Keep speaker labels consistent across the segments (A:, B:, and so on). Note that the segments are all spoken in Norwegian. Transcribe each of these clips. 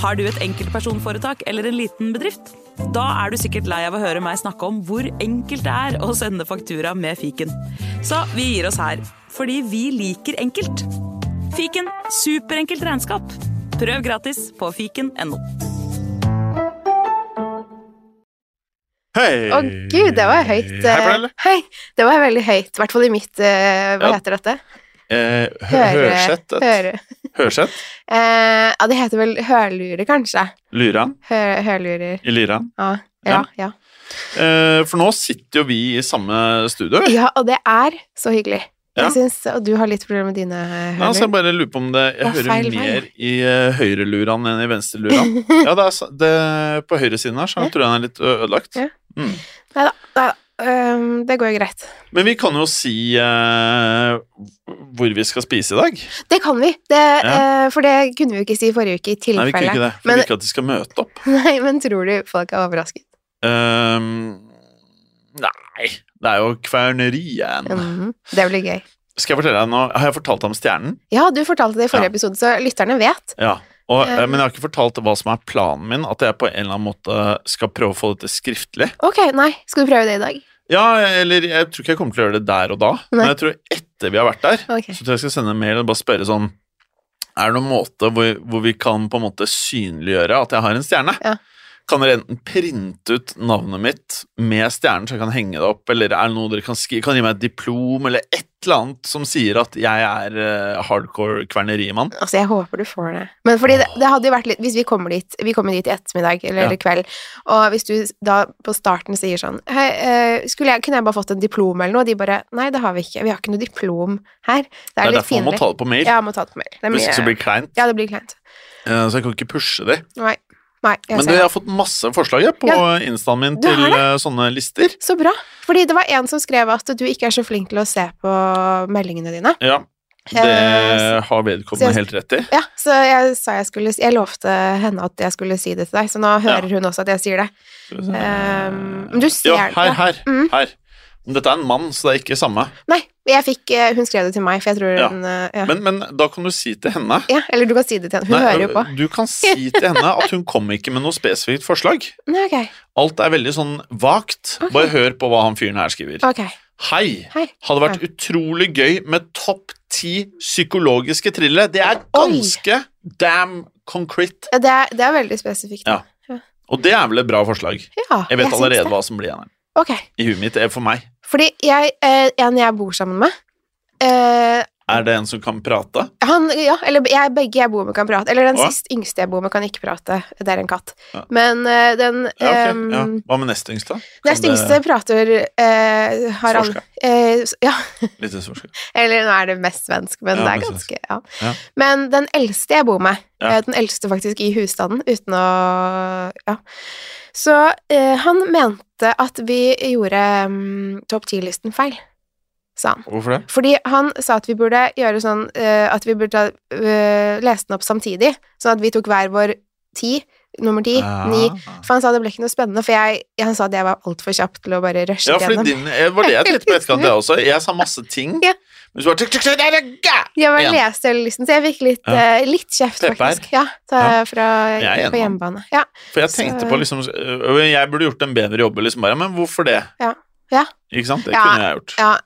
A: Har du et enkeltpersonforetak eller en liten bedrift? Da er du sikkert lei av å høre meg snakke om hvor enkelt det er å sende faktura med fiken. Så vi gir oss her, fordi vi liker enkelt. Fiken superenkelt regnskap. Prøv gratis på fiken.no.
B: Hei!
C: Å gud, det var høyt.
B: Hei,
C: eh,
B: Pernille.
C: Hei, det var veldig høyt. I hvert fall i mitt eh, Hva
B: Ja.
C: heter dette?
B: Eh, hø
C: Høre-
B: hørsett.
C: Høre.
B: Hørsett.
C: Eh, ja, det heter vel hørlurer, kanskje.
B: Lyran.
C: Hø hørlurer.
B: I lyran.
C: Ja, ja, ja.
B: Eh, for nå sitter jo vi i samme studio.
C: ja, og det er så hyggelig.
B: Ja. altså,
C: Jeg syns, Og du har litt problemer med dine eh,
B: Ja, så jeg
C: hørlurer.
B: bare lurer på om det Jeg
C: Å,
B: hører
C: feil vei.
B: mer i uh, høyreluraen enn i venstreluraen. ja, det er sa- det, på høyresiden her, så
C: Ja.
B: jeg tror jeg den er litt ø- ødelagt.
C: Ja.
B: Mm.
C: Neida, neida, ehm, det går jo greit.
B: Men vi kan jo si eh, hvor vi skal spise i dag.
C: Det kan vi, det,
B: Ja.
C: eh, for det kunne vi jo ikke si forrige uke, i
B: Nei, vi kunne
C: tilfelle.
B: ikke det. For vi
C: Men-
B: vil ikke at de skal møte opp.
C: Nei, men tror du folk er overrasket?
B: Ehm, nei, det er jo kverneriet.
C: Mhm, det blir gøy.
B: Skal jeg fortelle deg nå Har jeg fortalt deg om stjernen?
C: Ja, du fortalte det i forrige
B: Ja.
C: episode, så lytterne vet.
B: Ja. Og, eh,
C: Eh.
B: men jeg har ikke fortalt hva som er planen min. At jeg på en eller annen måte skal prøve å få dette skriftlig.
C: Ok, nei, skal du prøve det i dag?
B: Ja, eller jeg tror ikke jeg kommer til å gjøre det der og da.
C: Nei.
B: Men jeg tror etter vi har vært der,
C: Ok.
B: så tror jeg jeg skal sende en mail og bare spørre sånn Er det noen måte hvor, hvor vi kan på en måte synliggjøre at jeg har en stjerne?
C: Ja.
B: Kan dere enten printe ut navnet mitt med stjernen, så jeg kan henge det opp, eller er det noe dere kan skrive? Kan dere gi meg et diplom, eller et eller annet som sier at jeg er eh, hardcore kvernerimann?
C: Altså, jeg håper du får det. Men fordi det, det hadde jo vært litt Hvis vi kommer dit Vi kommer dit i ettermiddag eller,
B: Ja.
C: eller kveld, og hvis du da på starten sier sånn Hei, eh, skulle jeg, kunne jeg bare fått en diplom eller noe? Og de bare Nei, det har vi ikke. Vi har ikke noe diplom her. Det
B: Det
C: er
B: er
C: litt
B: derfor man må
C: pinlig.
B: ta det på mail.
C: Ja, må ta det på mail. Det er
B: Hvis ikke så
C: mye
B: blir det kleint.
C: Ja, det blir kleint.
B: Eh, Så jeg kan ikke pushe de.
C: Nei. Nei jeg
B: Men
C: ser
B: du, jeg
C: det.
B: har fått masse forslag jeg, på instaen min
C: Du
B: til eh,
C: har
B: sånne lister.
C: Så bra. Fordi det var en som skrev at du ikke er så flink til å se på meldingene dine.
B: Ja,
C: Eh,
B: det har vedkommende helt rett i.
C: Ja, så jeg sa jeg skulle Jeg lovte henne at jeg skulle si det til deg, så nå hører hun også at jeg sier det.
B: Skal vi se.
C: Ehm, men du ser
B: Ja,
C: det.
B: her, her,
C: Mm.
B: her. Men dette er en mann, så det er ikke samme.
C: Nei, jeg fikk, eh, hun skrev det til meg, for jeg tror
B: Ja,
C: hun eh, ja.
B: Men, men da kan du si til henne
C: ja, Eller du kan si det til henne. Hun
B: Nei, øh,
C: hører jo på.
B: Du kan si til henne at hun kom ikke med noe spesifikt forslag.
C: Nei, ok.
B: Alt er veldig sånn vagt.
C: Ok.
B: Bare hør på hva han fyren her skriver.
C: ok.
B: Hei!
C: Hei.
B: Hadde vært utrolig gøy med topp ti psykologiske thrillere. Det er
C: Oi.
B: ganske damn concrete.
C: Ja, Det er, det er veldig spesifikt.
B: Ja. Og det er vel et bra forslag.
C: Ja,
B: Jeg vet
C: syns
B: allerede
C: det.
B: hva som blir igjen her.
C: Ok.
B: I huet mitt. eh, For meg.
C: Fordi jeg, eh, en jeg bor sammen med eh,
B: Er det en som kan prate?
C: han, ja, eller jeg, begge jeg bor med kan prate. Eller den
B: Hva?
C: sist yngste jeg bor med, kan ikke prate. Det er en katt.
B: Ja.
C: Men eh, den
B: Ja, ok, ja.
C: ehm,
B: Hva med nest yngst, da? Kan
C: Nest
B: det-
C: yngste prater eh, har han,
B: Svorska.
C: eh, s- Ja,
B: Litt svorska.
C: Eller nå er det mest svensk, men
B: Ja,
C: det er
B: mest
C: ganske ja.
B: Ja.
C: Men den eldste jeg bor med,
B: Ja.
C: eh, den eldste faktisk i husstanden, uten å Ja. Så eh, han mente at vi gjorde mm, topp ti-listen feil, sa han.
B: Hvorfor det?
C: Fordi han sa at vi burde gjøre sånn eh, at vi burde eh, lese den opp samtidig, sånn at vi tok hver vår ti, nummer ti, ni
B: Ah.
C: For han sa det ble ikke noe spennende, for jeg, han sa at jeg var altfor kjapp til å bare rushe
B: Ja, fordi
C: gjennom.
B: din, eh, var det jeg tenkte på etterkant, jeg også. Jeg sa masse ting.
C: Ja.
B: Men så bare tuk, tuk, tuk, der er gæ!
C: Jeg bare
B: Igjen.
C: leste hele listen, så jeg fikk litt,
B: Ja.
C: eh, litt kjeft,
B: Pepper.
C: faktisk. Ja, da,
B: Ja.
C: Fra,
B: Jeg er enig,
C: på hjemmebane. Ja,
B: For jeg tenkte på liksom øh, Jeg burde gjort en bedre jobb, liksom bare. Men hvorfor det?
C: Ja. Ja.
B: Ikke sant? Det
C: Ja.
B: kunne jeg gjort.
C: ja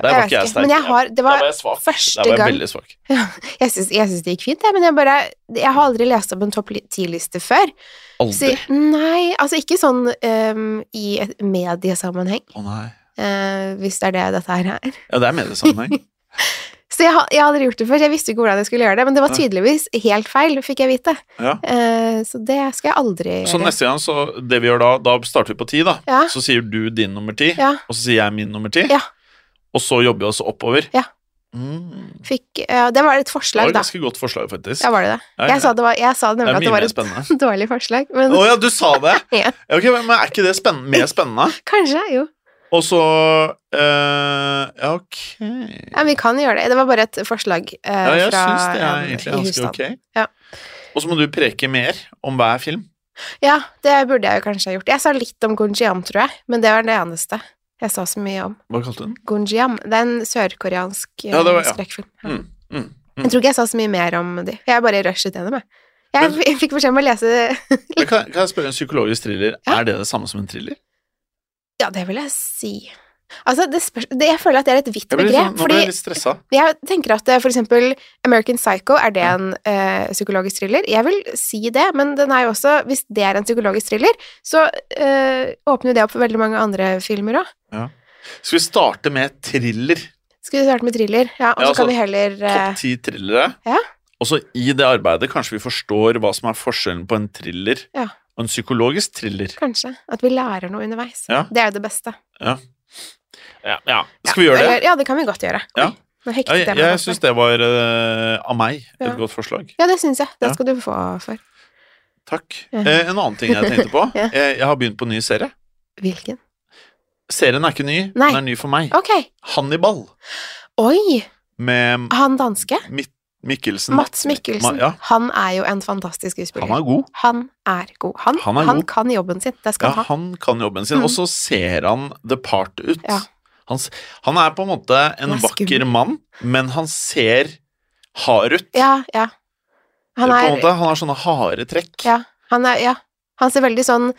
B: Der var
C: jeg
B: ikke jeg
C: vet ikke.
B: sterk.
C: Men jeg har, det
B: Da var
C: var
B: jeg svak. Da
C: første
B: var jeg
C: gang
B: veldig svak.
C: Jeg syns jeg syns det gikk fint, jeg, men jeg bare Jeg har aldri lest opp en topp ti-liste før. Så,
B: Aldri.
C: nei, altså ikke sånn eh, i et mediesammenheng,
B: Å nei.
C: eh, hvis det er det dette her er.
B: Ja, det er mediesammenheng.
C: Så jeg, har- jeg har aldri gjort det før, så jeg visste ikke hvordan jeg skulle gjøre det, men det var
B: Nei.
C: tydeligvis helt feil, fikk jeg vite.
B: Ja.
C: Eh, så det skal jeg aldri gjøre.
B: Så neste gang, så det vi gjør da, da starter vi på ti, da.
C: Ja.
B: Så sier du din nummer ti,
C: Ja.
B: og så sier jeg min nummer ti.
C: Ja.
B: Og så jobber vi oss oppover.
C: Ja.
B: Mm.
C: Fikk, ja, det var et
B: Det var
C: forslag,
B: et
C: da.
B: ganske godt forslag, faktisk.
C: Ja, var det det?
B: Ja,
C: Jeg sa, det var, jeg sa
B: det
C: nemlig
B: er
C: at det
B: mye
C: var
B: mer
C: et
B: spennende.
C: dårlig forslag, men
B: Å ja, du sa det!
C: Ja.
B: Ok, Men er ikke det spenn- mer spennende?
C: kanskje, jo.
B: Og så eh, Ja, ok.
C: Ja, vi kan gjøre det. Det var bare et forslag eh,
B: Ja, jeg
C: fra
B: syns det er
C: en
B: egentlig
C: i
B: ganske
C: husstanden.
B: ok.
C: Ja.
B: Og så må du preke mer om hver film.
C: Ja, det burde jeg jo kanskje ha gjort. Jeg sa litt om Gunjiam, tror jeg, men det var det eneste jeg sa så mye om.
B: Hva kalte du den?
C: Gunjiam, det er en sørkoreansk eh,
B: Ja, det var- ja.
C: skrekkfilm. Ja.
B: Mm, mm, mm.
C: Jeg tror ikke jeg sa så mye mer om de. Jeg bare rushet gjennom, jeg. Jeg f- fikk beskjed om å lese
B: Men kan, kan jeg spørre en psykologisk thriller?
C: Ja.
B: Er det det samme som en thriller?
C: Ja, det vil jeg si. Altså, det spørs, det, jeg føler at det er et vidt
B: Jeg blir litt sånn, nå
C: begrep,
B: ble
C: fordi
B: jeg litt stressa.
C: jeg tenker at eh, for eksempel American Psycho, er det
B: Ja.
C: en eh, psykologisk thriller? Jeg vil si det, men den er jo også, hvis det er en psykologisk thriller, så eh, åpner jo det opp for veldig mange andre filmer òg.
B: Skal vi starte med thriller?
C: Skal vi starte med thriller? Ja, og
B: Ja,
C: så
B: altså,
C: kan vi heller eh,
B: Topp ti thrillere.
C: Ja.
B: Og så i det arbeidet kanskje vi forstår hva som er forskjellen på en thriller
C: Ja.
B: og en psykologisk thriller.
C: Kanskje. At vi lærer noe underveis.
B: Ja.
C: Det er jo det beste.
B: Ja, ja. Skal vi gjøre det?
C: Eller- Ja, det kan vi godt gjøre.
B: Ja.
C: Oi, nå hektet
B: Ja, jeg
C: jeg meg
B: jeg
C: fast
B: syns
C: her.
B: det var eh, av meg et
C: Ja.
B: godt forslag.
C: Ja, det syns jeg. Det
B: Ja.
C: skal du få for.
B: Takk.
C: Ja.
B: Eh, en annen ting jeg tenkte på.
C: Ja.
B: eh, jeg har begynt på en ny serie.
C: Hvilken?
B: Serien er ikke ny,
C: Nei. Ah.
B: den er ny for meg.
C: Ok.
B: Hannibal
C: Oi!
B: med
C: Han danske.
B: Mikkelsen.
C: Ah. Mats Mikkelsen.
B: Ma- Ja,
C: Han er jo en fantastisk skuespiller.
B: han er god.
C: Han er god. Han,
B: Han er
C: han
B: god.
C: kan jobben sin. Det skal
B: Ja,
C: han ha.
B: han kan jobben sin,
C: Mm.
B: og så ser han the part ut.
C: Ja.
B: Han, s- han er på en måte en
C: Han er
B: vakker
C: skummel.
B: mann, men han ser hard ut.
C: Ja, ja. Han
B: på en
C: er,
B: måte, han har sånne harde trekk.
C: ja, han er ja. Han ser veldig sånn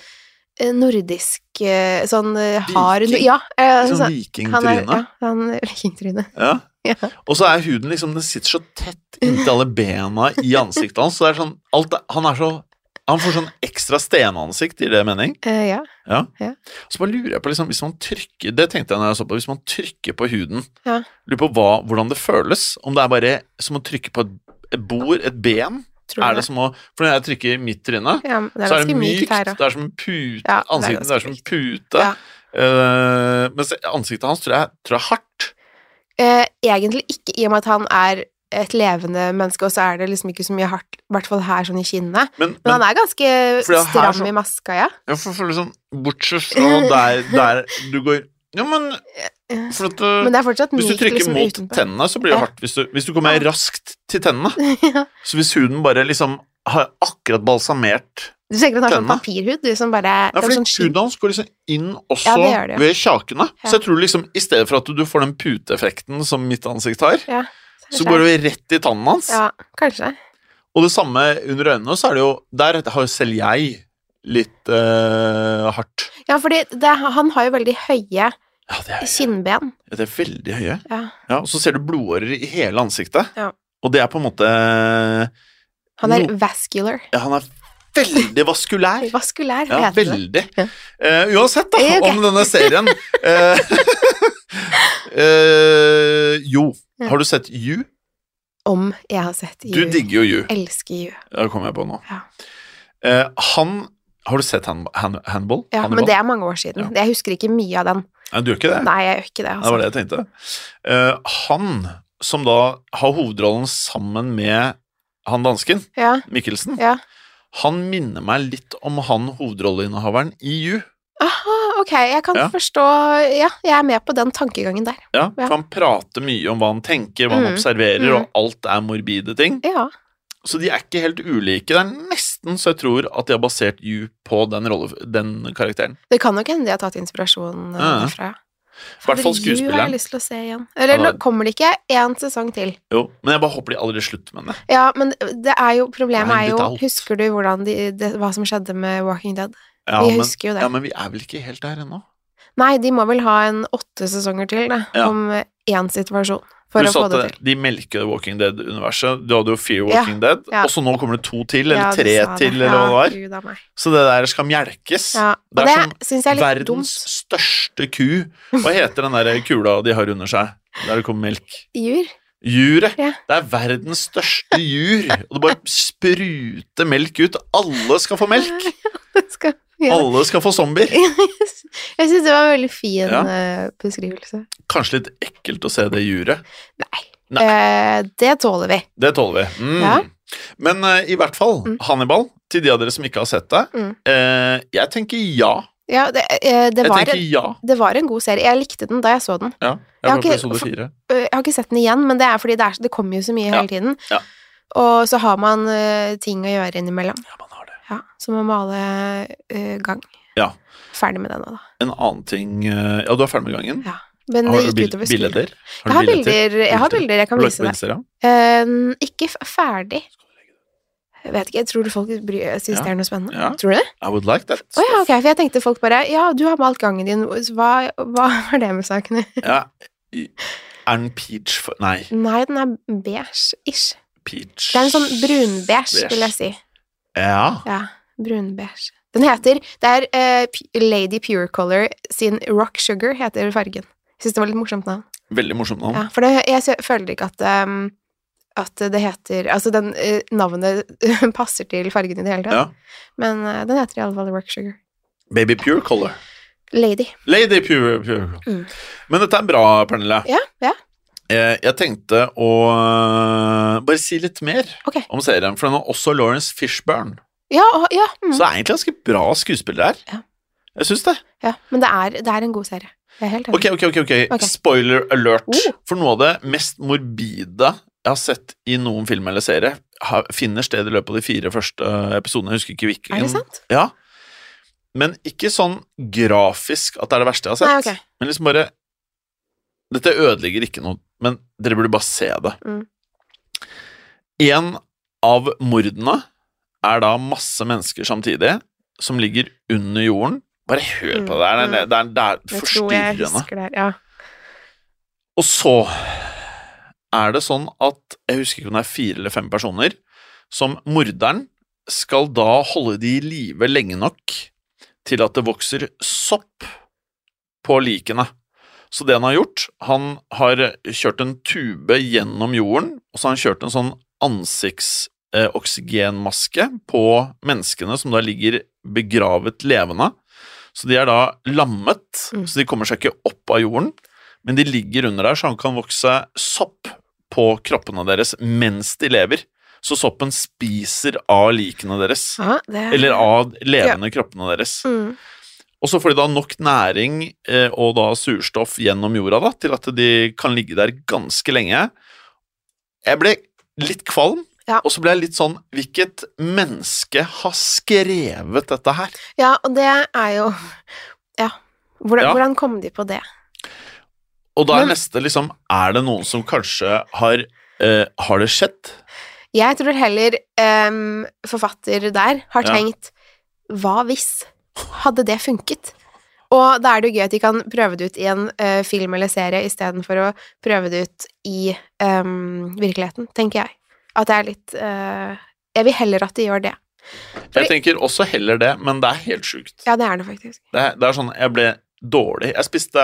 C: eh, nordisk eh, Sånn eh, hard
B: Viking.
C: Ja. eh,
B: Sånn
C: sånn- han er-
B: vikingtryne.
C: Ja, han er vikingtryne.
B: Ja.
C: Ja.
B: Og så er huden liksom Den sitter så tett inntil alle bena i ansiktet hans. Så det er sånn alt, er- Han er så Han får sånn ekstra stenansikt, gir det mening?
C: Eh, ja.
B: Ja.
C: Ja.
B: Så bare lurer jeg på liksom, hvis man trykker Det tenkte jeg når jeg så på. Hvis man trykker på huden,
C: Ja.
B: lurer på hva, hvordan det føles. Om det er bare som å trykke på et, et bord, et ben.
C: Tror
B: Er det som å For når jeg trykker midt tryne,
C: ja, men det er
B: så er
C: ganske
B: det mykt.
C: mykt her òg.
B: Det er som en pute.
C: Ja, det er
B: ansiktet det er
C: ganske
B: som en
C: mykt.
B: pute.
C: Ja.
B: Eh, mens ansiktet hans tror jeg, tror jeg er hardt.
C: Eh, egentlig ikke, i og med at han er et levende menneske, og så er det liksom ikke så mye hardt, i hvert fall her sånn i kinnet.
B: Men,
C: Men
B: men
C: han er ganske
B: Fordi han er
C: stram
B: sånn-
C: i maska, ja.
B: Jeg får føle sånn Bortsett fra der, der du går Ja, men for at du,
C: Men det er fortsatt
B: Hvis du
C: mykt
B: trykker
C: liksom,
B: mot
C: utenpå.
B: tennene, så blir det
C: Ja.
B: hardt. Hvis du, hvis du kommer
C: Ja.
B: raskt til tennene
C: ja.
B: Så hvis huden bare liksom har akkurat balsamert
C: Du tenker at han har sånn
B: Tennene.
C: papirhud, du som bare
B: Ja,
C: det er
B: fordi
C: sånn skinn.
B: huden hans går liksom inn også
C: Ja, det gjør det, ja.
B: ved kjakene.
C: Ja.
B: Så jeg tror liksom i stedet for at du får den puteeffekten som mitt ansikt har,
C: Ja,
B: så går det rett i tannen hans.
C: Ja, kanskje.
B: Og det samme under øynene, så er det jo Der har jo selv jeg litt eh, hardt.
C: Ja, fordi det, han har jo veldig høye
B: Ja, det er,
C: kinnben.
B: det er veldig høye.
C: Ja.
B: Ja, og så ser du blodårer i hele ansiktet.
C: Ja.
B: Og det er på en måte ja,
C: Han er
B: No.
C: vascular.
B: Han er veldig vaskulær.
C: Vaskulær,
B: Ja,
C: heter det.
B: veldig.
C: Ja.
B: Eh, uansett, da,
C: Eh, ok.
B: om denne serien eh, eh, Jo,
C: Ja.
B: har du sett You?
C: Om jeg har sett
B: Du
C: You.
B: digger jo You.
C: Elsker You.
B: Det kommer jeg på nå.
C: Ja.
B: Eh, han Har du sett hand, hand, Handball?
C: Ja,
B: Hannibal?
C: men det er mange år siden. Jeg husker ikke mye av den.
B: Nei, du gjør ikke det?
C: Nei, jeg gjør ikke det.
B: Det
C: Altså.
B: var det jeg tenkte. Eh, han som da har hovedrollen sammen med han dansken,
C: Ja,
B: Mikkelsen,
C: ja.
B: han minner meg litt om han hovedrolleinnehaveren i You.
C: Aha, ok, jeg kan
B: Ja.
C: forstå Ja, jeg er med på den tankegangen der.
B: Ja,
C: Ja.
B: For han prater mye om hva han tenker, hva han
C: Mm,
B: observerer,
C: mm.
B: og alt er morbide ting.
C: Ja.
B: Så de er ikke helt ulike. Det er nesten så jeg tror at de har basert You på den, rolle, den karakteren.
C: Det kan nok hende de har tatt inspirasjon eh,
B: Ja, ja.
C: derfra.
B: I hvert fall
C: Fader, You har
B: skuespilleren.
C: jeg lyst til å se igjen. Eller
B: Ja, da-
C: nå kommer det ikke én sesong til.
B: Jo, men jeg bare håper de aldri slutter med det.
C: Ja, men det er jo Problemet
B: Grind
C: er
B: it
C: jo
B: out.
C: Husker du hvordan de, det, hva som skjedde med Walking Dead?
B: Ja,
C: vi
B: men,
C: husker jo det.
B: ja, men vi er vel ikke helt der ennå.
C: Nei, de må vel ha en åtte sesonger til, da.
B: Ja.
C: Om eh, én situasjon. For
B: Pluss
C: å få
B: at
C: det
B: eh,
C: til.
B: de melker The Walking Dead-universet. Du hadde jo Fear Walking Dead,
C: ja.
B: og så nå kommer det to til, eller
C: Ja, du
B: tre
C: sa det.
B: til, eller hva det var.
C: Ja, gud a meg.
B: Så det der skal melkes.
C: Ja. Og
B: Det
C: det,
B: er som
C: syns jeg er
B: Verdens
C: litt dumt.
B: største ku. Hva heter den der kula de har under seg, der det kommer melk?
C: Jur.
B: Juret.
C: Ja.
B: Det er verdens største jur, og det bare spruter melk ut. Alle skal få melk!
C: Skal vi gjøre det?
B: Alle skal få zombier.
C: Jeg syns det var en veldig fin
B: Ja.
C: eh, beskrivelse.
B: Kanskje litt ekkelt å se det juret.
C: Nei.
B: Nei.
C: Eh, det tåler vi.
B: Det tåler vi. Mm.
C: Ja.
B: Men eh, i hvert fall,
C: Mm.
B: Hannibal, til de av dere som ikke har sett det,
C: Mm.
B: eh, jeg tenker ja.
C: Ja, det, eh, det,
B: Jeg
C: var
B: tenker
C: en,
B: ja.
C: det var en god serie. Jeg likte den da jeg så den.
B: ja. Jeg
C: Jeg har
B: var på
C: ikke-
B: episode
C: for-
B: fire.
C: Øh, Jeg har ikke sett den igjen, men det er fordi det, er, det kommer jo så mye
B: Ja.
C: hele tiden.
B: Ja.
C: Og så har man øh, ting å gjøre innimellom.
B: Ja, man har det.
C: Ja, så må male øh, gang.
B: Ja.
C: Ferdig med det nå, da.
B: En annen ting eh, Ja, du er ferdig med gangen.
C: Ja. Men
B: Har
C: det
B: du
C: gikk
B: bil-
C: utover skolen.
B: bilder?
C: Jeg har
B: bilder til?
C: bilder, jeg har
B: Bilder.
C: bilder jeg kan
B: Har du lagt på
C: vise deg.
B: Instagram?
C: Eh, ikke f- ferdig. Jeg vet ikke, jeg tror folk bryr- syns
B: Ja.
C: det er noe spennende.
B: Ja.
C: Tror du det?
B: I would like that.
C: Å ja, ok, for jeg tenkte folk bare Ja, du har malt gangen din, hva, hva har det med saken å gjøre?
B: Ja. I- Er den peach for Nei,
C: Nei, den er beige-ish.
B: peach
C: Det er en sånn brunbeige,
B: Beige.
C: vil jeg si.
B: Ja.
C: Ja, brunbeige. Den heter Det er eh, P- Lady Pure Color sin Rock Sugar, heter fargen. Jeg syns det var litt morsomt navn.
B: Veldig morsomt navn.
C: Ja, for det, jeg sø- føler ikke at um, at det heter Altså, den eh, navnet passer til fargen i det hele tatt.
B: Ja.
C: Men eh, den heter i alle fall Rock Sugar.
B: Baby pure color.
C: Lady.
B: Lady pure, pure.
C: Mm.
B: Men dette er bra, Pernille.
C: Ja, ja.
B: Eh, Jeg tenkte å eh, bare si litt mer
C: Ok.
B: om serien, for den har også Lawrence Fishburne.
C: Ja, å, ja, mm.
B: Så det er egentlig ganske bra skuespillere her.
C: Ja.
B: Jeg syns det.
C: ja. Men det er, det er en god serie. Jeg er helt enig.
B: Ok, ok, ok. ok.
C: Mm. Ok.
B: Spoiler alert.
C: Oh.
B: For noe av det mest morbide jeg har sett i noen film eller serie, har- finner sted i løpet av de fire første episodene. Jeg husker ikke hvilken.
C: Er det sant?
B: Ja. Men ikke sånn grafisk at det er det verste jeg har sett.
C: Nei, ok.
B: Men liksom bare Dette ødelegger ikke noe, men dere burde bare se det.
C: Mm.
B: En av mordene er da masse mennesker samtidig som ligger under jorden. Bare hør på det her. Det er, det er, det er
C: Jeg Mm, tror jeg
B: forstyrrende.
C: husker det. her, Ja.
B: Og så er det sånn at Jeg husker ikke om det er fire eller fem personer som morderen skal da holde de i live lenge nok til at det vokser sopp på likene. Så det han har gjort, han har kjørt en tube gjennom jorden, og så har han kjørt en sånn ansiktsoksygenmaske på menneskene som da ligger begravet levende. Så de er da lammet,
C: Mm.
B: så de kommer seg ikke opp av jorden, men de ligger under der, så han kan vokse sopp på kroppene deres mens de lever. Så soppen spiser av likene deres,
C: Ja, det...
B: eller av levende kroppene deres.
C: Mm.
B: Og så får de da nok næring eh, og da surstoff gjennom jorda da, til at de kan ligge der ganske lenge. Jeg ble litt kvalm,
C: Ja.
B: og så ble jeg litt sånn Hvilket menneske har skrevet dette her?
C: ja, og det er jo Ja. Hvordan,
B: Ja.
C: hvordan kom de på det?
B: Og da er
C: Men-
B: neste liksom Er det noen som kanskje har eh, Har det skjedd?
C: Jeg tror heller em, forfatter der har
B: Ja.
C: tenkt Hva hvis? Hadde det funket? Og da er det jo gøy at de kan prøve det ut i en eh, film eller serie istedenfor å prøve det ut i em, virkeligheten, tenker jeg. At det er litt eh, Jeg vil heller at de gjør det.
B: Jeg tenker også heller det, men det er helt sjukt.
C: Ja, det er det faktisk.
B: Det, er- det er sånn Jeg ble dårlig. Jeg spiste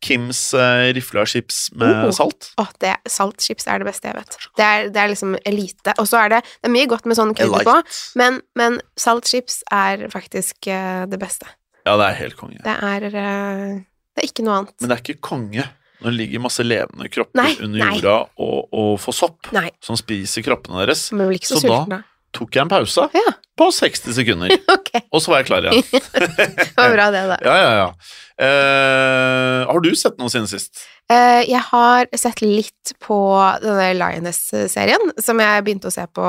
B: Kims eh, rifla chips med
C: Oh.
B: salt.
C: Åh, det salt chips er det beste jeg vet. Det er, det er liksom elite. Og så er det Det er mye godt med sånn
B: Jeg
C: krydder
B: likte
C: på,
B: det.
C: men, men salt chips er faktisk eh, det beste.
B: Ja, det er helt konge.
C: Det er eh, Det er ikke noe annet.
B: Men det er ikke konge når det ligger masse levende kropper
C: Nei,
B: under
C: nei.
B: jorda og, og får sopp
C: Nei.
B: som spiser kroppene deres.
C: Men blir ikke så,
B: Så da-
C: sulten da.
B: Tok jeg en pause
C: Ja.
B: på 60 sekunder,
C: Ok,
B: og så var jeg klar igjen.
C: det var bra det, da.
B: Ja, ja, ja. Eh, har du sett noe siden sist?
C: Eh, jeg har sett litt på denne Lioness-serien, som jeg begynte å se på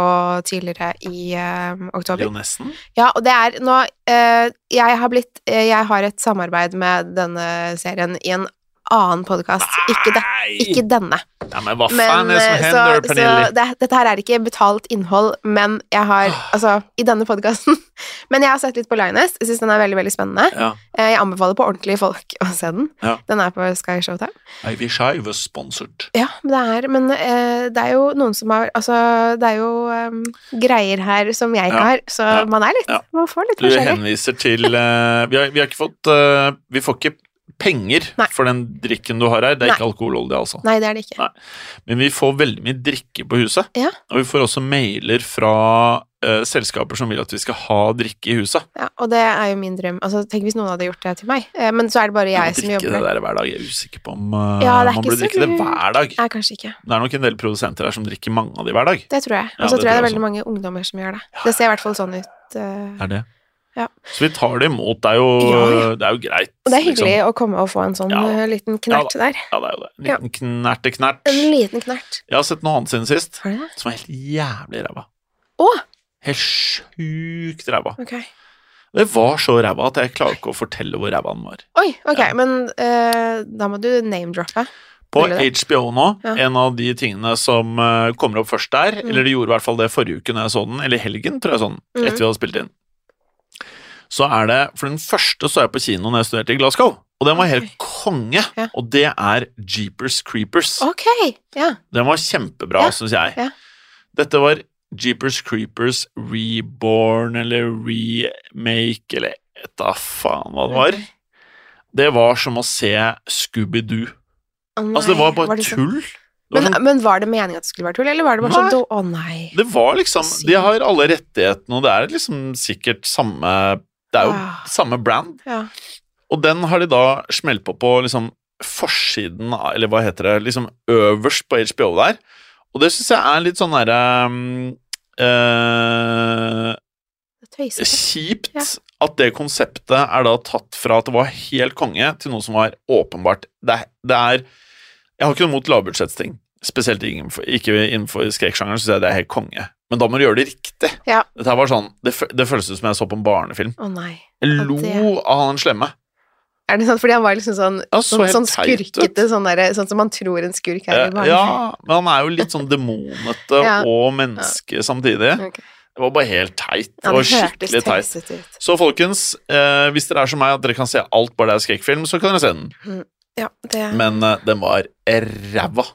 C: tidligere i eh, oktober.
B: Leonessen?
C: Ja, og det er nå eh, jeg, har blitt, eh, jeg har et samarbeid med denne serien i en annen podkast. Ikke, de, ikke denne.
B: Nei, men hva faen
C: Men,
B: er det som
C: eh,
B: hender,
C: så, så
B: Pernille?
C: det, dette her er ikke betalt innhold, men jeg har Altså, i denne podkasten. Men jeg har sett litt på Lioness. Jeg syns den er veldig, veldig spennende.
B: Ja.
C: Eh, Jeg anbefaler på ordentlige folk å se den.
B: Ja.
C: Den er på Sky Showtime.
B: I wish I was sponsored.
C: Ja, men det er, men eh, det er jo noen som har Altså, det er jo eh, greier her som jeg ikke
B: Ja.
C: har, så
B: Ja.
C: man er litt
B: Ja.
C: Man får litt
B: Du
C: forskjellig.
B: henviser til eh, vi, har, vi har ikke fått eh, Vi får ikke penger
C: Nei.
B: for den drikken du har her. Det er
C: Nei.
B: ikke alkohololje, altså.
C: Nei, det er det ikke.
B: Nei. Men vi får veldig mye drikke på huset.
C: Ja.
B: Og vi får også mailer fra eh, selskaper som vil at vi skal ha drikke i huset.
C: Ja, og det er jo min drøm. Altså, tenk hvis noen hadde gjort det til meg. Eh, men så er det bare jeg
B: Vi
C: som
B: må drikke
C: jobber
B: det
C: der.
B: der hver dag. Jeg er usikker på om eh,
C: Ja, det er
B: man
C: ikke
B: burde
C: så
B: drikke det
C: lurt.
B: hver dag.
C: Nei, kanskje ikke.
B: Det er nok en del produsenter her som drikker mange av de hver dag.
C: Det tror jeg.
B: Ja,
C: Og så
B: det
C: tror jeg det
B: tror
C: er
B: jeg
C: veldig mange ungdommer som gjør det. Det ser i hvert fall sånn ut. eh.
B: Er det?
C: Ja.
B: Så vi tar det imot. Det er jo,
C: Ja, ja.
B: Det er jo greit.
C: Og det er hyggelig å komme og få en sånn
B: Liksom. Ja.
C: eh, liten knert der.
B: Liksom. Ja, det er jo det. En liten knert i knert.
C: En liten knert.
B: Jeg har sett noe annet siden sist
C: Har du det?
B: som er helt jævlig ræva.
C: Å!
B: Helt sjukt ræva.
C: Ok.
B: Det var så ræva at jeg klarer ikke å fortelle hvor ræva den var.
C: Oi, ok,
B: Ja.
C: men eh, da må du name-droppe.
B: På
C: Mulig det.
B: HBO nå,
C: Ja. Mm.
B: en av de tingene som eh, kommer opp først der, eller de gjorde i hvert fall det forrige uke når jeg så den, eller i helgen, tror jeg sånn,
C: Mhm.
B: etter vi hadde spilt inn. Så er det, for den første så jeg på kino når jeg studerte i Glasgow, og den var helt konge,
C: Ja.
B: og det er Jeepers Creepers.
C: Ok, ja.
B: Den var kjempebra,
C: Ja,
B: synes jeg.
C: ja.
B: Dette var Jeepers Creepers Reborn eller Remake eller et da faen hva det var. Det var som å se Scooby-Doo.
C: Å nei,
B: Altså, det var bare
C: det så-
B: tull. Det var,
C: Men, eh,
B: sånn,
C: men var det meningen at det skulle være tull, eller var det bare
B: Nei.
C: sånn da- Å nei.
B: det var liksom De har alle rettighetene, og det er liksom sikkert samme Det er jo
C: Ah.
B: samme brand.
C: Ja.
B: Og den har de da smelt på på liksom forsiden, av- eller hva heter det, liksom øverst på HBO der. Og det syns jeg er litt sånn derre um, eh,
C: Det tøyser.
B: Kjipt
C: Ja.
B: at det konseptet er da tatt fra at det var helt konge, til noe som var åpenbart Det, er- det er Jeg har ikke noe mot lavbudsjettsting. Spesielt innenfor, ikke innenfor skrekksjangeren syns jeg det er helt konge. Men da må du gjøre det riktig.
C: Ja.
B: Dette her var sånn, det, fø- det føles ut som jeg så på en barnefilm.
C: Å nei.
B: Jeg
C: Og det-
B: lo av han slemme.
C: Er det sant? Fordi han var liksom sånn,
B: Ja, så
C: sånn,
B: helt
C: sånn
B: teit ut.
C: skurkete, sånn, der, sånn som man tror en skurk er i
B: Eh,
C: barnefilm.
B: Ja, men han er jo litt sånn demonete
C: Ja.
B: og menneske samtidig.
C: Ok.
B: Det var bare helt teit.
C: Ja,
B: Det var skikkelig teit.
C: tøysete ut.
B: Så folkens, eh, hvis dere er som meg at dere kan se alt bare det er skrekkfilm, så kan dere se den.
C: Ja, det... men,
B: Men eh, den var ræva.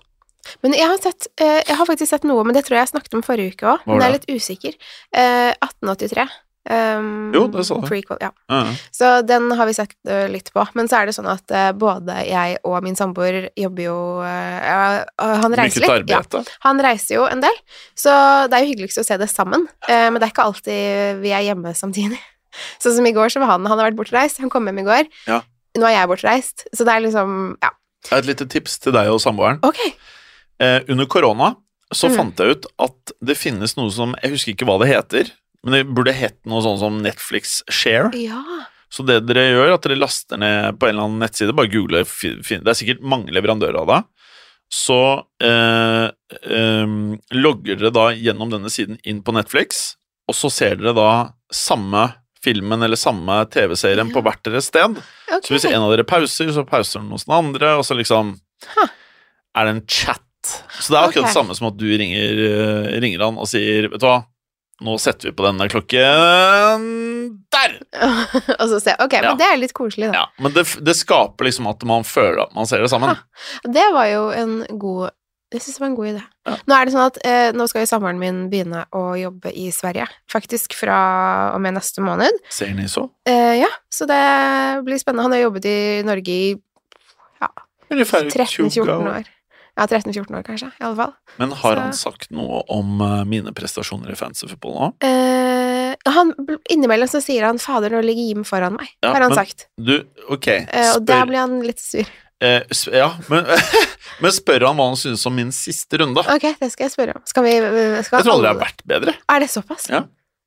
C: jeg, har sett, eh, jeg har faktisk sett noe, men det tror jeg jeg snakket om forrige uke òg.
B: Hva var
C: Men jeg er
B: det?
C: litt usikker. Eh, 1883. Um,
B: Jo, det sa du.
C: Prequel, ja.
B: Eh,
C: Så den har vi sett ø, litt på. Men så er det sånn at ø, både jeg og min samboer jobber jo ø, ja, ø, Han reiser
B: Mykket
C: litt. Ja,
B: arbeid.
C: han reiser jo en del, så det er jo hyggeligst å se det sammen. Eh, men det er ikke alltid vi er hjemme samtidig. Sånn som i går, så var han Han har vært bortreist. Han kom hjem i går.
B: Ja.
C: Nå er jeg bortreist, så det er liksom Ja,
B: Jeg har Et lite tips til deg og samboeren.
C: ok.
B: Eh, under korona så
C: Mm.
B: fant jeg ut at det finnes noe som Jeg husker ikke hva det heter, men det burde hett noe sånn som Netflix Share.
C: Ja.
B: Så det dere gjør, er at dere laster ned på en eller annen nettside, bare google, fi- fin- det er sikkert mange leverandører av det, så eh, em, logger dere da gjennom denne siden inn på Netflix, og så ser dere da samme filmen eller samme TV-serien
C: Ja.
B: på hvert deres sted.
C: Ok.
B: Så hvis en av dere pauser, så pauser den hos den andre, og så liksom
C: Huh.
B: er det en chat. Så det er akkurat
C: Ok.
B: det samme som at du ringer, eh, ringer han og sier, vet du hva, nå setter vi på denne klokken der!
C: og så se. Ok,
B: Ja.
C: men det er litt koselig, da.
B: Ja, men det, det skaper liksom at man føler at man ser det sammen.
C: Ja. Det var jo en god Jeg synes det var en god idé.
B: Ja.
C: Nå er det sånn at eh, nå skal jo samboeren min begynne å jobbe i Sverige. Faktisk fra og med neste måned.
B: Ser ni så?
C: Eh, ja, så det blir spennende. Han har jobbet i Norge i
B: Ungefär 20
C: 13-14
B: år.
C: år. Ja, 13-14 år kanskje, i alle fall.
B: Men har
C: Så-
B: han sagt noe om eh, mine prestasjoner i fancy football nå?
C: Eh, han, innimellom så sier han 'fader, nå ligger Jim foran meg',
B: Ja,
C: har han
B: men-
C: sagt.
B: Du, ok,
C: Eh, og der
B: spør,
C: blir han litt sur.
B: eh, sp ja, men, men spør han hva han synes om min siste runde.
C: Ok, det skal jeg spørre om. Skal vi eh, skal
B: Jeg tror aldri jeg
C: alle-
B: har vært bedre.
C: Er det såpass?
B: Ja.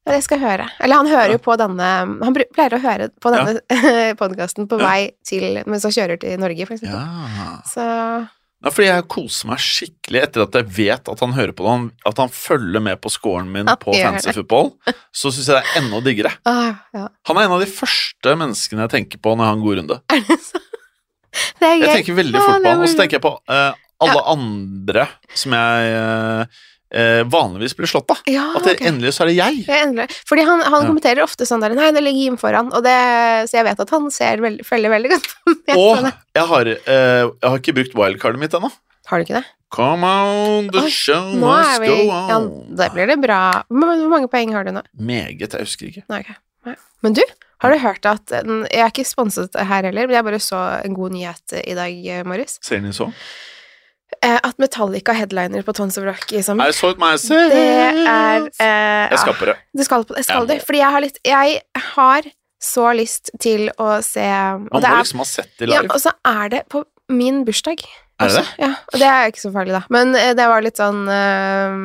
C: Ja, Det skal jeg høre. Eller han hører jo på denne Han bru- pleier å høre på
B: Ja.
C: denne podkasten på
B: Ja.
C: vei til mens han kjører til Norge, for eksempel.
B: Ja.
C: Så
B: Ja, fordi jeg koser meg skikkelig etter at jeg vet at han hører på det, at han følger med på scoren min
C: At
B: på
C: jeg gjør
B: fancy football, så synes jeg det er enda diggere.
C: ah, ja.
B: Han er en av de første menneskene jeg tenker på når jeg har en god runde.
C: Det er
B: Jeg
C: gøy.
B: tenker veldig
C: Ja,
B: fort på
C: det
B: han, og så
C: var-
B: tenker jeg på eh, alle andre som jeg eh, eh, vanligvis blir slått av.
C: Ja,
B: At det,
C: Ah, ok.
B: endelig så er det jeg.
C: Det er endelig. Fordi han, han
B: Ja.
C: kommenterer ofte sånn der Nei, det ligger Jim foran, og det, så jeg vet at han ser veldig, følger veldig godt med.
B: Og
C: på det.
B: jeg har, eh, jeg har ikke brukt wildcardet mitt ennå.
C: Har du ikke det?
B: Come on, the
C: Oi,
B: show
C: Nå er
B: must
C: vi
B: go
C: ja,
B: on.
C: Da blir det bra. Men Hvor mange poeng har du nå?
B: Meget, jeg husker ikke.
C: Nei, ok. Nei. Men du, har du hørt at den- Jeg er ikke sponset her heller, men jeg bare så en god nyhet eh, i dag eh, morges.
B: Ser ni så?
C: Eh, at Metallica headliner på Tons of Rock i sommer.
B: I saw it myself.
C: Mm. Det er eh,
B: Jeg skaper det.
C: ah, Du skal, på- jeg skal
B: Jeg må.
C: det. Fordi jeg har litt Jeg har så lyst til å se og
B: Man
C: det
B: må
C: er,
B: liksom ha sett det
C: ja, altså-
B: live.
C: Og så er det på min bursdag.
B: Er det
C: også. Ja, og det er jo ikke så farlig, da. Men eh, det var litt sånn eh,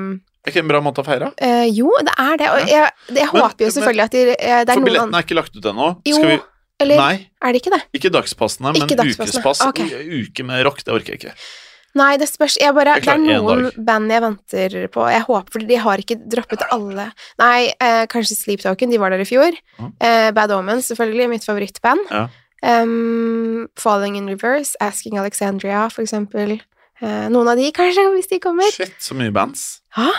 B: Er ikke en bra måte å feire?
C: eh, Jo, det er det. Og jeg, jeg
B: Men-
C: håper jo
B: men-
C: selvfølgelig at de, eh, det er
B: For
C: noen
B: billetten
C: andre
B: er ikke lagt ut ennå.
C: Jo,
B: Skal vi
C: Eller
B: Nei,
C: er det ikke det?
B: ikke dagspassene, men
C: Ikke dagspassene.
B: ukespass.
C: Ok.
B: U- Uke med rock, det orker jeg ikke.
C: Nei, det spørs. Jeg bare,
B: Jeg
C: det er
B: klarer én
C: noen
B: dag.
C: band jeg venter på. Jeg håper, fordi de har ikke droppet alle. Nei, eh, kanskje Sleep Token, de var der i fjor.
B: Mhm.
C: Eh, Bad Omens, selvfølgelig, mitt favorittband.
B: Ja.
C: Um, Falling in Reverse, Asking Alexandria, for eksempel. Eh, Noen av de, kanskje, hvis de kommer.
B: Shit, så mye bands.
C: Ja,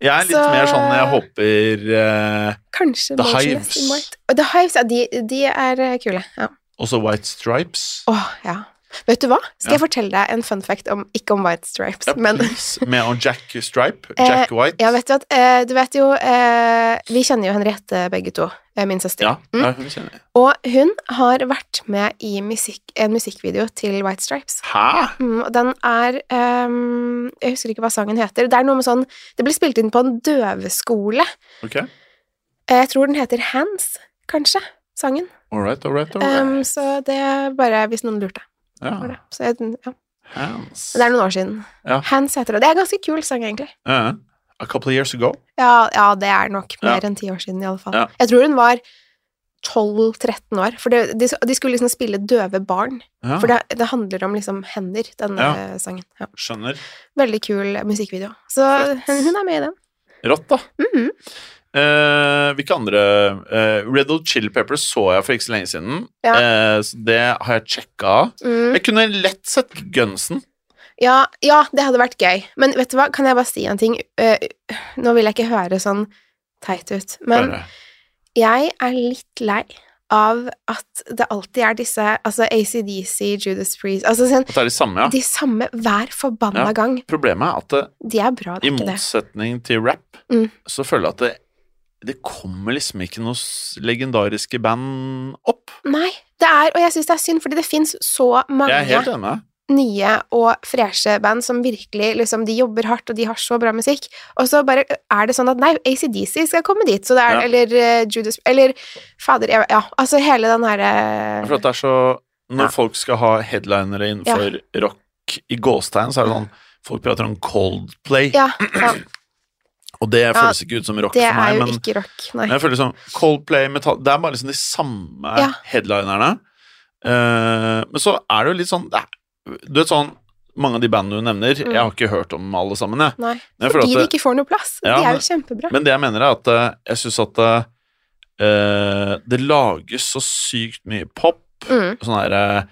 B: Jeg er litt
C: Så-
B: mer sånn jeg håper eh,
C: kanskje
B: The
C: Motionless
B: Hives.
C: in White. Og The Hives, ja, de, de er eh, kule. Ja.
B: Også White Stripes.
C: Åh, ja. Vet du hva? Skal
B: Ja.
C: jeg fortelle deg en fun fact om Ikke om White Stripes,
B: Ja,
C: men
B: please. Med og Jack Stripe.
C: Eh,
B: Jack White.
C: Ja, vet du, at, eh, du vet jo eh, Vi kjenner jo Henriette begge to, eh, min søster.
B: Ja,
C: Mm.
B: ja, hun kjenner jeg.
C: Og hun har vært med i musikk, en musikkvideo til White Stripes.
B: Hæ?
C: Mm, og den er ehm, Jeg husker ikke hva sangen heter. Det er noe med sånn Det ble spilt inn på en døveskole.
B: Ok.
C: Eh, Jeg tror den heter Hands, kanskje. Sangen.
B: All right, all right, all right.
C: Ehm, så det er bare hvis noen lurte. var
B: ja.
C: det. Så jeg, ja.
B: Hands.
C: det er noen år siden.
B: Ja.
C: Hands heter det. Det er en ganske kul sang, egentlig.
B: Ja. a couple of years ago.
C: Ja, ja det er nok
B: Ja.
C: mer enn ti år siden, i alle fall.
B: Ja.
C: Jeg tror hun var 12-13 år, for det, de, de skulle liksom spille døve barn.
B: Ja,
C: For det, det handler om liksom hender, denne
B: Ah. Ja.
C: eh, sangen. Ja.
B: Skjønner.
C: Veldig kul musikkvideo. Så
B: Fett.
C: hun, hun er med i den.
B: Rått, da.
C: Mhm.
B: Eh, hvilke andre eh, Red Old Chili Peppers så jeg for ikke så lenge siden.
C: Ja.
B: Eh, så det har jeg sjekka.
C: Mm.
B: Jeg kunne lett sett Gunsen.
C: Ja, ja, det hadde vært gøy. Men vet du hva, kan jeg bare si en ting? Eh, nå vil jeg ikke høre sånn teit ut, men
B: Bare.
C: jeg er litt lei av at det alltid er disse altså ACDC, Judas Priest altså sånn,
B: At det er de samme, ja.
C: De samme hver forbanna
B: Ja.
C: gang.
B: Problemet er at det,
C: De er bra, det
B: i
C: er ikke det.
B: motsetning til rap,
C: Mm.
B: så føler jeg at det, det kommer liksom ikke noe s- legendariske band opp.
C: Nei, det er, og jeg syns det er synd, fordi det fins så
B: Jeg er helt
C: mange
B: enig med deg.
C: nye og freshe band som virkelig liksom, De jobber hardt, og de har så bra musikk, og så bare er det sånn at nei, ACDC skal komme dit, så det er
B: Ja.
C: Eller eh, Judas Eller fader, jeg- ja, altså hele den herre
B: For at det er så Når
C: Ja.
B: folk skal ha headlinere innenfor rock i gåstegn, så er det sånn Folk prater om Coldplay,
C: eh, ja, ja,
B: og det
C: Ja,
B: føles ikke ut som rock
C: det
B: for meg,
C: er jo
B: men
C: ikke rock, nei.
B: men jeg føler sånn Coldplay, Metall Det er bare liksom de samme
C: Ja.
B: headlinerne. Eh, men så er det jo litt sånn det er, Du vet sånn Mange av de bandene du nevner,
C: Mm.
B: jeg har ikke hørt om alle sammen, jeg.
C: nei.
B: Men jeg føler
C: Fordi
B: at
C: de
B: det-
C: ikke får noe plass.
B: Ja,
C: de er
B: men-
C: jo kjempebra.
B: Men det jeg mener er at eh, jeg syns at eh, det lages så sykt mye pop,
C: Mm,
B: sånn her eh,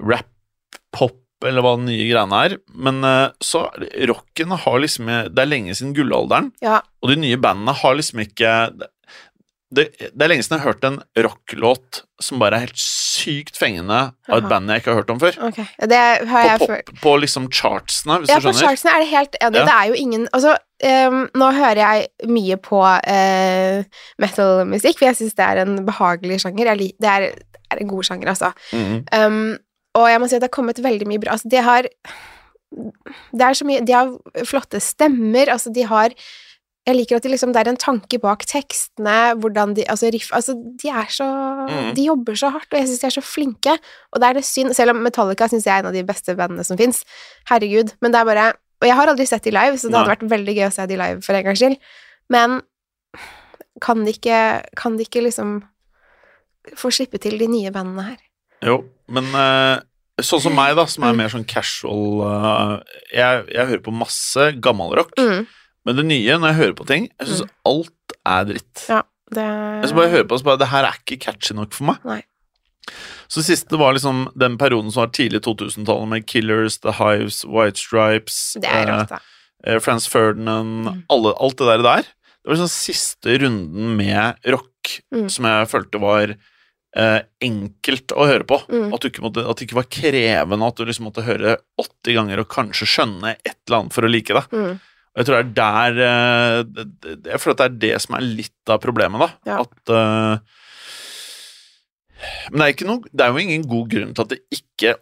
B: rap-pop, eller hva den nye greiene er, men eh, så er det- rocken har liksom Det er lenge siden gullalderen,
C: ja,
B: og de nye bandene har liksom ikke det, det er lenge siden jeg har hørt en rocklåt som bare er helt sykt fengende av et
C: Aha.
B: band jeg ikke har hørt om før.
C: ok. Det har jeg
B: På,
C: følt
B: pop, på liksom chartsene, hvis
C: Ja,
B: du
C: på
B: skjønner.
C: Charleston er det helt enig.
B: Ja.
C: Det er jo ingen Altså, ehm, nå hører jeg mye på eh, metal-musikk, for jeg syns det er en behagelig sjanger. Jeg lik, det er, det er en god sjanger, altså.
B: Mhm.
C: Ehm, og jeg må si at det har kommet veldig mye bra. Altså, de har Det er så mye De har flotte stemmer, altså, de har jeg liker at de liksom, det er en tanke bak tekstene, hvordan de Altså, riff Altså, de er så
B: Mm.
C: De jobber så hardt, og jeg syns de er så flinke, og det er det synd Selv om Metallica syns jeg er en av de beste bandene som fins. Herregud. Men det er bare Og jeg har aldri sett de live, så det hadde
B: Nei.
C: vært veldig gøy å se de live for en gangs skyld. Men kan de ikke Kan de ikke liksom få slippe til de nye bandene her?
B: Jo, men eh, sånn som meg, da, som er
C: Mm.
B: mer sånn casual eh, jeg, jeg hører på masse gammalrock,
C: Mm,
B: men det nye, når jeg hører på ting, jeg syns
C: Mm.
B: alt er dritt.
C: ja, det
B: Jeg så bare hører på og så bare Det her er ikke catchy nok for meg.
C: Nei.
B: Så det siste var liksom den perioden som var tidlig 2000-tallet, med Killers, The Hives, White Stripes
C: Det er rart, da.
B: eh, Franz Ferdinand,
A: Mm.
B: alle, alt det der, der. Det var liksom siste runden med rock
C: Mm.
B: som jeg følte var eh, enkelt å høre på.
C: Mm.
B: At, du ikke måtte, at det ikke var krevende, at du liksom måtte høre 80 ganger og kanskje skjønne et eller annet for å like det.
C: Mm,
B: Og jeg tror det er der eh, det- det- Jeg føler at det er det som er litt av problemet, da.
C: Ja.
B: At eh, Men det er, ikke noe, det er jo ingen god grunn til at det ikke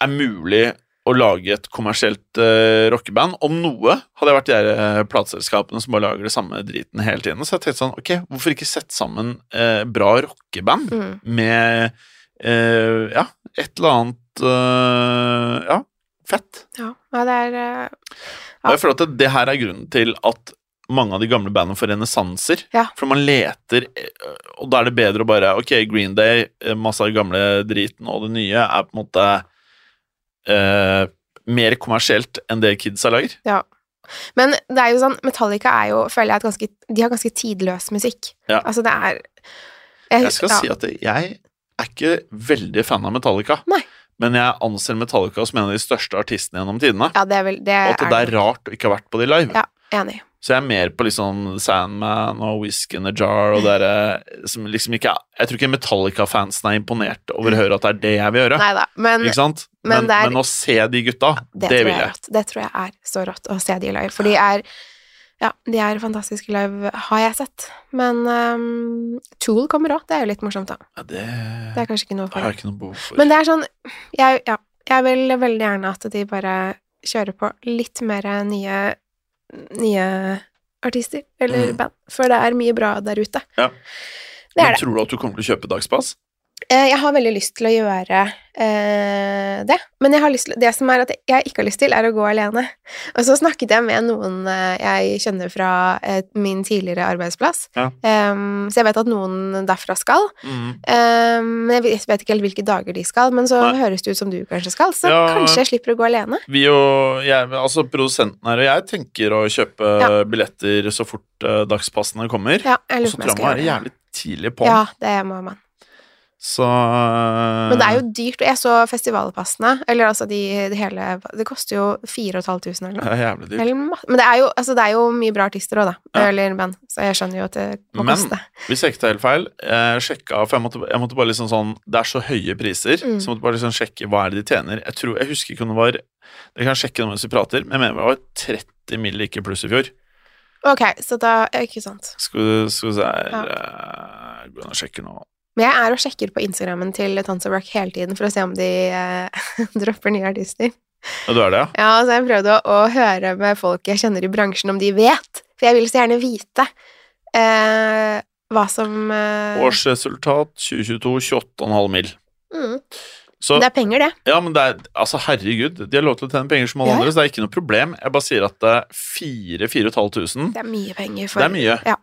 B: er mulig å lage et kommersielt eh, rockeband. Om noe hadde jeg vært de der eh, plateselskapene som bare lager det samme driten hele tiden. Så jeg tenkte sånn Ok, hvorfor ikke sette sammen eh, bra rockeband
C: mm.
B: med eh, Ja, et eller annet eh, Ja, fett.
C: Ja, Nei, det er eh,
B: Og jeg føler at det, det her er grunnen til at mange av de gamle bandene får renessanser.
C: Ja.
B: For man leter, eh, og da er det bedre å bare Ok, Green Day, eh, masse av det gamle driten og det nye er på en måte eh, mer kommersielt enn det kidsa lager.
C: Men det er jo sånn, Metallica er jo, føler jeg, et ganske, de har ganske tidløs musikk.
B: Ja.
C: Altså, det er
B: Jeg skal si at jeg er ikke veldig fan av Metallica.
C: Nei.
B: men jeg anser Metallica som en av de største artistene gjennom tidene.
C: Ja, det er vel det
B: Og at det
C: er
B: er rart å ikke ha vært på de live.
C: Ja, enig.
B: Så jeg er mer på liksom Sandman og Whisk in a Jar og dere som liksom ikke er- Jeg tror ikke Metallica-fansen er imponert over å høre at det er det jeg vil gjøre.
C: Nei da. Men
B: ikke sant?
C: men
B: Men,
C: det er-
B: men å se de gutta,
C: det,
B: det
C: tror
B: vil
C: jeg
B: jeg.
C: er rått. Det tror jeg er så rått å se de live. For de er Ja, de er fantastiske live, har jeg sett. Men ehm, Tool kommer òg. Det er jo litt morsomt, da.
B: Ja, det
C: Det er kanskje ikke noe for
B: har jeg
C: det.
B: ikke noe behov for.
C: Men det er sånn jeg, ja, jeg vil veldig gjerne at de bare kjører på litt mer nye Nye artister eller
B: Mm.
C: band. For det er mye bra der ute.
B: Ja.
C: Det er
B: Men
C: det.
B: tror du at du kommer til å kjøpe dagspass?
C: Eh, Jeg har veldig lyst til å gjøre eh, det, men jeg har lyst til, det som er at jeg ikke har lyst til, er å gå alene. Og så snakket jeg med noen eh, jeg kjenner fra eh, min tidligere arbeidsplass,
B: Ja.
C: Eh, så jeg vet at noen derfra skal.
B: Mm.
C: Eh, Men jeg vet- vet ikke helt hvilke dager de skal, men så
B: Nei.
C: høres det ut som du kanskje skal, så
B: Ja.
C: kanskje jeg slipper å gå alene.
B: Vi og jeg, altså produsenten her og jeg tenker å kjøpe billetter så fort eh, dagspassene kommer.
C: Ja, jeg
B: og
C: lurer
B: så
C: på
B: tror jeg
C: om jeg skal
B: man
C: gjøre
B: være
C: det.
B: jævlig tidlig på.
C: Ja, det må man.
B: Så
C: Men det er
B: Eh.
C: jo dyrt, og jeg så festivalpassene, eller altså de, det hele Det koster jo 4500 eller noe.
B: eh, Det er jævlig dyrt.
C: Eller ma- Men det er, jo, altså det er jo mye bra artister òg, da.
B: Ja.
C: Eller band. Så jeg skjønner jo at det må
B: Men-
C: koste.
B: Hvis jeg ikke tar helt feil, jeg sjekka For jeg måtte, jeg måtte bare liksom sånn Det er så høye priser,
C: Mm.
B: så jeg måtte bare liksom sjekke hva er det de tjener. Jeg tror, jeg husker ikke om det var Dere kan sjekke det mens vi prater, men jeg mener det var 30 mill. ikke pluss i fjor.
C: Ok, så da ja, Ikke sant.
B: Skal, vi- skal vi se her eh, Gå inn og sjekke nå.
C: Men jeg er og sjekker på Instagrammen til Tons of Rock hele tiden for å se om de eh, dropper nye artister.
B: Ja, du er det, ja?
C: Ja, så jeg prøvde å, å høre med folk jeg kjenner i bransjen, om de vet. For jeg vil så gjerne vite eh, hva som eh,
B: Årsresultat 2022 28,5 mill.
C: mm.
B: Så
C: Det er penger, det.
B: ja, men det er Altså, herregud, de har lov til å tjene penger som alle
C: Ja, ja.
B: andre, så det er ikke noe problem. Jeg bare sier at eh, det er 4500
C: Det er mye penger. For,
B: Det er mye.
C: Ja.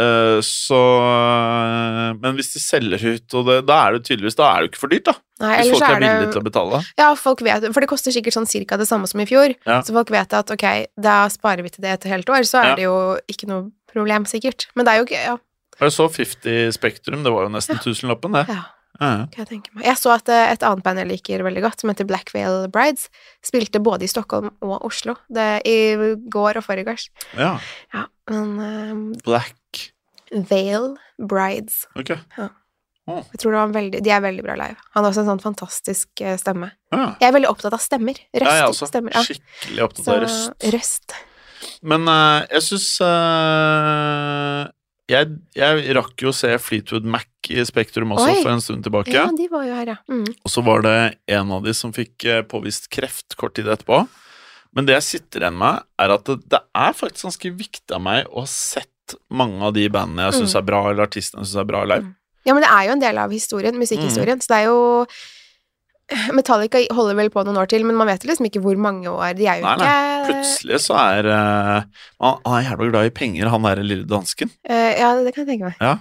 B: Eh, så eh, Men hvis de selger ut, og det, da er det tydeligvis Da er det jo ikke for dyrt, da.
C: Nei,
B: Hvis
C: ellers
B: folk
C: så
B: er villige
C: det-
B: til å betale.
C: Ja, folk vet, for det koster sikkert sånn cirka det samme som i fjor.
B: Ja.
C: Så folk vet at ok, da sparer vi til det et helt år, så er
B: Ja.
C: det jo ikke noe problem, sikkert. Men det er jo ikke Ja,
B: Jeg så 50 Spektrum, det var jo nesten tusenlappen, det.
C: ja
B: Ja, ja.
C: kan jeg tenke meg. Jeg så at eh, et annet band jeg liker veldig godt, som heter Black Veil Brides, spilte både i Stockholm og Oslo det, i går og forgårs.
B: ja.
C: Ja, men
B: Black.
C: eh, Veil Brides
B: Ok.
C: Jeg tror det var en veldig, De er veldig bra live. Han har også en sånn fantastisk eh, stemme.
B: Ja.
C: Jeg er veldig opptatt av stemmer. Røster.
B: Ja, jeg også.
C: Stemmer. Ja.
B: Skikkelig opptatt
C: Så,
B: av røst.
C: røst.
B: Men eh, jeg syns jeg, jeg rakk jo å se Fleetwood Mac i Spektrum også
C: Oi.
B: for en stund tilbake.
C: Ja, de var jo her, ja. Mm.
B: Og så var det en av de som fikk eh, påvist kreft kort tid etterpå. Men det jeg sitter igjen med, er at det, det er faktisk ganske viktig av meg å ha sett mange av de bandene jeg
C: Mm.
B: syns er bra, eller artistene jeg syns er bra live.
C: Ja, men det er jo en del av historien, musikkhistorien,
B: Mm.
C: så det er jo eh, Metallica holder vel på noen år til, men man vet jo liksom ikke hvor mange år. De er jo
B: Nei, nei,
C: ikke
B: Plutselig så er eh, Han han er jævla glad i penger, han der lille dansken.
C: Eh, Ja, det kan jeg tenke meg.
B: Eh,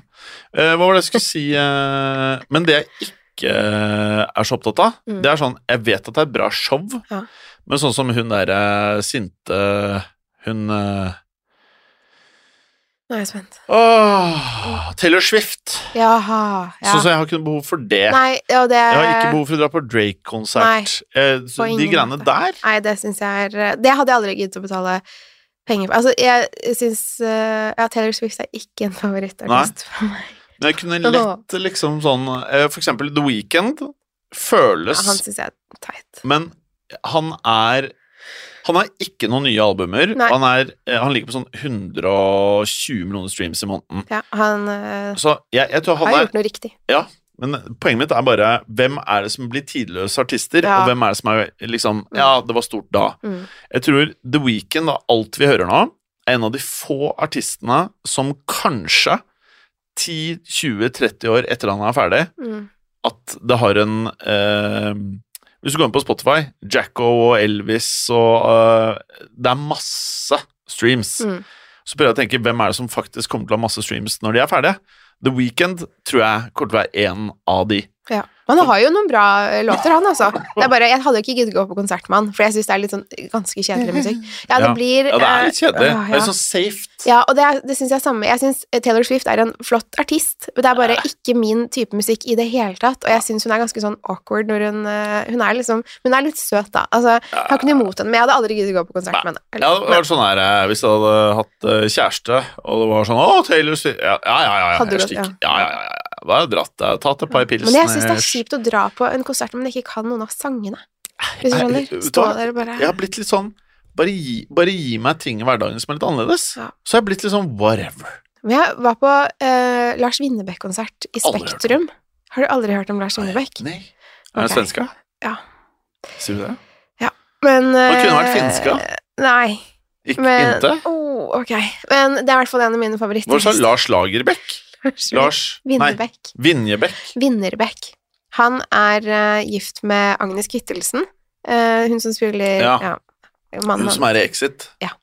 B: hva var det jeg skulle si eh, Men det jeg ikke eh, er så opptatt av,
C: Mm.
B: det er sånn Jeg vet at det er bra show,
C: Ja.
B: men sånn som hun derre sinte Hun eh,
C: Nå er jeg spent.
B: Åh, Taylor Swift.
C: Jaha. Ja.
B: Sånn som jeg har ikke noe behov for det.
C: Nei, ja, det
B: Jeg har ikke behov for å dra på Drake-konsert. Eh, så
C: på
B: de
C: ingen
B: greiene
C: måte.
B: der
C: Nei, det syns jeg er eh, Det hadde jeg aldri giddet å betale penger for. Altså, jeg syns eh, Ja, Taylor Swift er ikke en favorittartist for meg.
B: Men jeg kunne lett liksom sånn eh, For eksempel The Weeknd føles
C: Han syns jeg er teit.
B: Men han er Han har ikke noen nye albumer.
C: Nei.
B: Han, er, eh, han ligger på sånn 120 millioner streams i måneden.
C: Ja, han eh,
B: Så jeg, jeg tror han
C: har
B: er
C: gjort noe riktig.
B: Men poenget mitt er bare hvem er det som blir tidløse artister,
C: Ja.
B: og hvem er det som er liksom Ja, det var stort da.
C: Mm.
B: Jeg tror The Weeknd og alt vi hører nå, er en av de få artistene som kanskje 10-20-30 år etter han er ferdig,
C: Mm.
B: at det har en eh, Hvis du går inn på Spotify, Jacko og Elvis og eh, Det er masse streams.
C: Mm.
B: Så prøver jeg å tenke hvem er det som faktisk kommer til å ha masse streams når de er ferdige. The Weeknd tror jeg kommer til å være en av de.
C: Ja, Men han har jo noen bra eh, låter, han, altså. Det er bare, jeg hadde jo ikke giddet gå på konsert med han, for jeg syns det er litt sånn ganske kjedelig musikk. Ja, det
B: Ja.
C: blir
B: Ja, det
C: eh,
B: er litt kjedelig.
C: åh,
B: Det er
C: ja.
B: sånn safe.
C: Ja, og det, er- det syns jeg er samme. Jeg syns Taylor Swift er en flott artist, men det er bare ikke min type musikk i det hele tatt. Og jeg syns hun er ganske sånn awkward når hun eh, Hun er liksom Hun er litt søt, da. Altså, jeg har ikke noe imot henne, men jeg hadde aldri giddet å gå på konsert med henne. Eller-
B: Ja, det hadde
C: men-
B: vært sånn her eh, hvis jeg hadde hatt eh, kjæreste, og det var sånn 'Å, Taylor Swift Ja, ja, ja. ja,
C: Hadde du
B: jeg
C: gått, ja.
B: stikker. ja, ja, ja, ja, ja. Da har jeg dratt deg, tatt et par pilsner
C: men jeg syns det er kjipt å dra på en konsert når man ikke kan noen av sangene. Hvis
B: eh,
C: du
B: Nei,
C: skjønner?
B: vet du
C: Stå
B: hva?
C: der og bare
B: Jeg har blitt litt sånn bare gi, bare gi meg ting i hverdagen som er litt annerledes.
C: Ja.
B: Så jeg har blitt litt sånn whatever.
C: Men jeg var på eh, Lars Winnebekk-konsert i
B: Aldri hørt om.
C: Spektrum. Har du aldri hørt om Lars Winnebekk?
B: Nei. Er det
C: Ok.
B: svenske?
C: Ja.
B: Sier du det?
C: Men
B: Han kunne vært
C: eh,
B: finska.
C: Nei.
B: Ikke
C: Men,
B: inte?
C: oh, ok. men det er i hvert fall en av mine favoritter.
B: Hva sa du? Lars Lagerbäck? Lars Nei,
C: Vinnerbekk.
B: Vinjebekk.
C: Vinnerbekk. Han er eh, gift med Agnes Kittelsen, eh, hun som spiller
B: Ja.
C: ja,
B: Hun
C: mannen
B: som er i Exit.
C: Ja.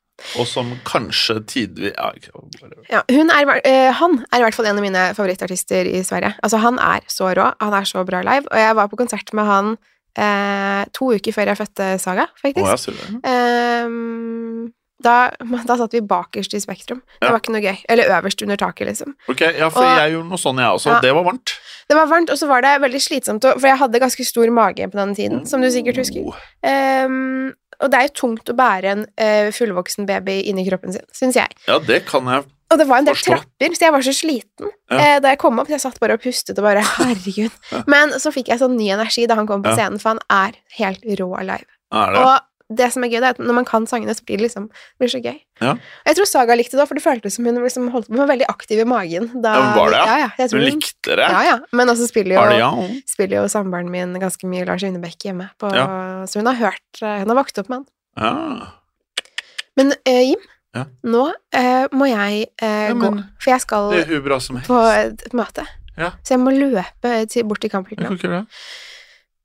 B: Og som kanskje tidvis ja, ikke- whatever.
C: Ja, hun er, i hver- eh, han er i hvert fall en av mine favorittartister i Sverige. Altså, han er så rå, han er så bra live, og jeg var på konsert med han eh, to uker før jeg fødte Saga,
B: Å,
C: faktisk.
B: ja, sier du det?
C: Ehm, da, da satt vi bakerst i Spektrum. Det
B: Ja.
C: var ikke noe gøy. Eller øverst under taket, liksom.
B: Ok, ja, for
C: Og-
B: jeg gjorde noe sånn, jeg også.
C: Ja.
B: Det var varmt.
C: Det var varmt, og så var det veldig slitsomt, å- for jeg hadde ganske stor mage på den tiden, som du sikkert husker.
B: Oh.
C: Ehm, og det er jo tungt å bære en eh, fullvoksen baby inni kroppen sin, syns jeg.
B: Ja, det kan jeg.
C: Og det var en del
B: Forstå.
C: trapper, så jeg var så sliten
B: Ja.
C: eh, da jeg kom opp. Jeg satt bare og pustet og bare Herregud. Men så fikk jeg sånn ny energi da han kom på
B: Ja.
C: scenen, for han er helt rå live.
B: Er det?
C: Og det som er gøy, det er at når man kan sangene, så blir det liksom det blir så gøy.
B: Ja.
C: Og Jeg tror Saga likte det òg, for det føltes som hun liksom holdt på. Hun var veldig aktiv i magen. Da,
B: Ja, hun var det, ja?
C: ja? ja, jeg tror
B: Hun
C: hun-
B: likte det?
C: Ja, ja. Men også spiller jo
B: Er det ja?
C: spiller jo samboeren min ganske mye Lars Winnebekk hjemme. På, Så hun har hørt eh, Hun har vokst opp med han.
B: ja.
C: Men eh, Jim,
B: Ja.
C: nå eh, må jeg eh,
B: Ja, men-
C: gå, for jeg skal
B: Det er hun bra som helst.
C: på et møte.
B: Ja.
C: Så jeg må løpe til, bort til
B: Jeg kan
C: kampflyplanen.
B: ikke gjøre det.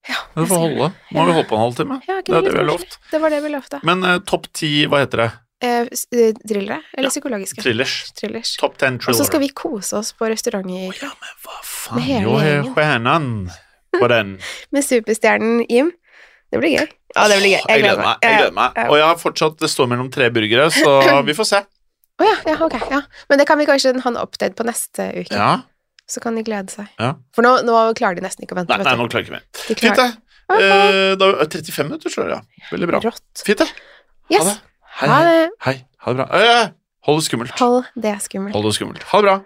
C: Ja,
B: Du får holde. Nå har vi holdt på en halvtime.
C: Ja,
B: Det er det vi har lovt.
C: Det var det vi lovte.
B: Men eh, topp ti, hva heter det?
C: Eh, s- eh, thrillere?
B: Ja.
C: Eller psykologiske?
B: Thrillers.
C: Thrillers.
B: Topp ten
C: Og så
B: thriller.
C: skal vi kose oss på restaurant i,
B: Å ja, men hva
C: Med
B: faen?
C: hele
B: Jo, her
C: gjengen.
B: stjernen på den.
C: med superstjernen Jim. Det blir gøy. Ja, det blir gøy.
B: Jeg gleder meg. Jeg gleder meg.
C: Ja, ja.
B: Og jeg har fortsatt Det står mellom tre burgere, så vi får se.
C: Å ja, ja, ok. Ja. Men det kan vi kanskje ha en update på neste uke.
B: Ja.
C: Så kan de glede seg.
B: Ja.
C: For nå, nå klarer de nesten ikke å vente.
B: Nei,
C: vet
B: nei
C: du.
B: nå klarer ikke vi.
C: De
B: Fint, det.
C: klarer
B: Eh, da, 35 minutter, tror jeg. Ja. Veldig bra.
C: rått.
B: Fint, det.
C: Yes.
B: det. Hei,
C: Ha det.
B: Hei. Ha det bra. Eh, hold det skummelt.
C: Hold det skummelt.
B: Hold det skummelt. Ha det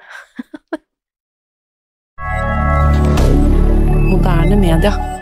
B: bra.
D: Moderne media.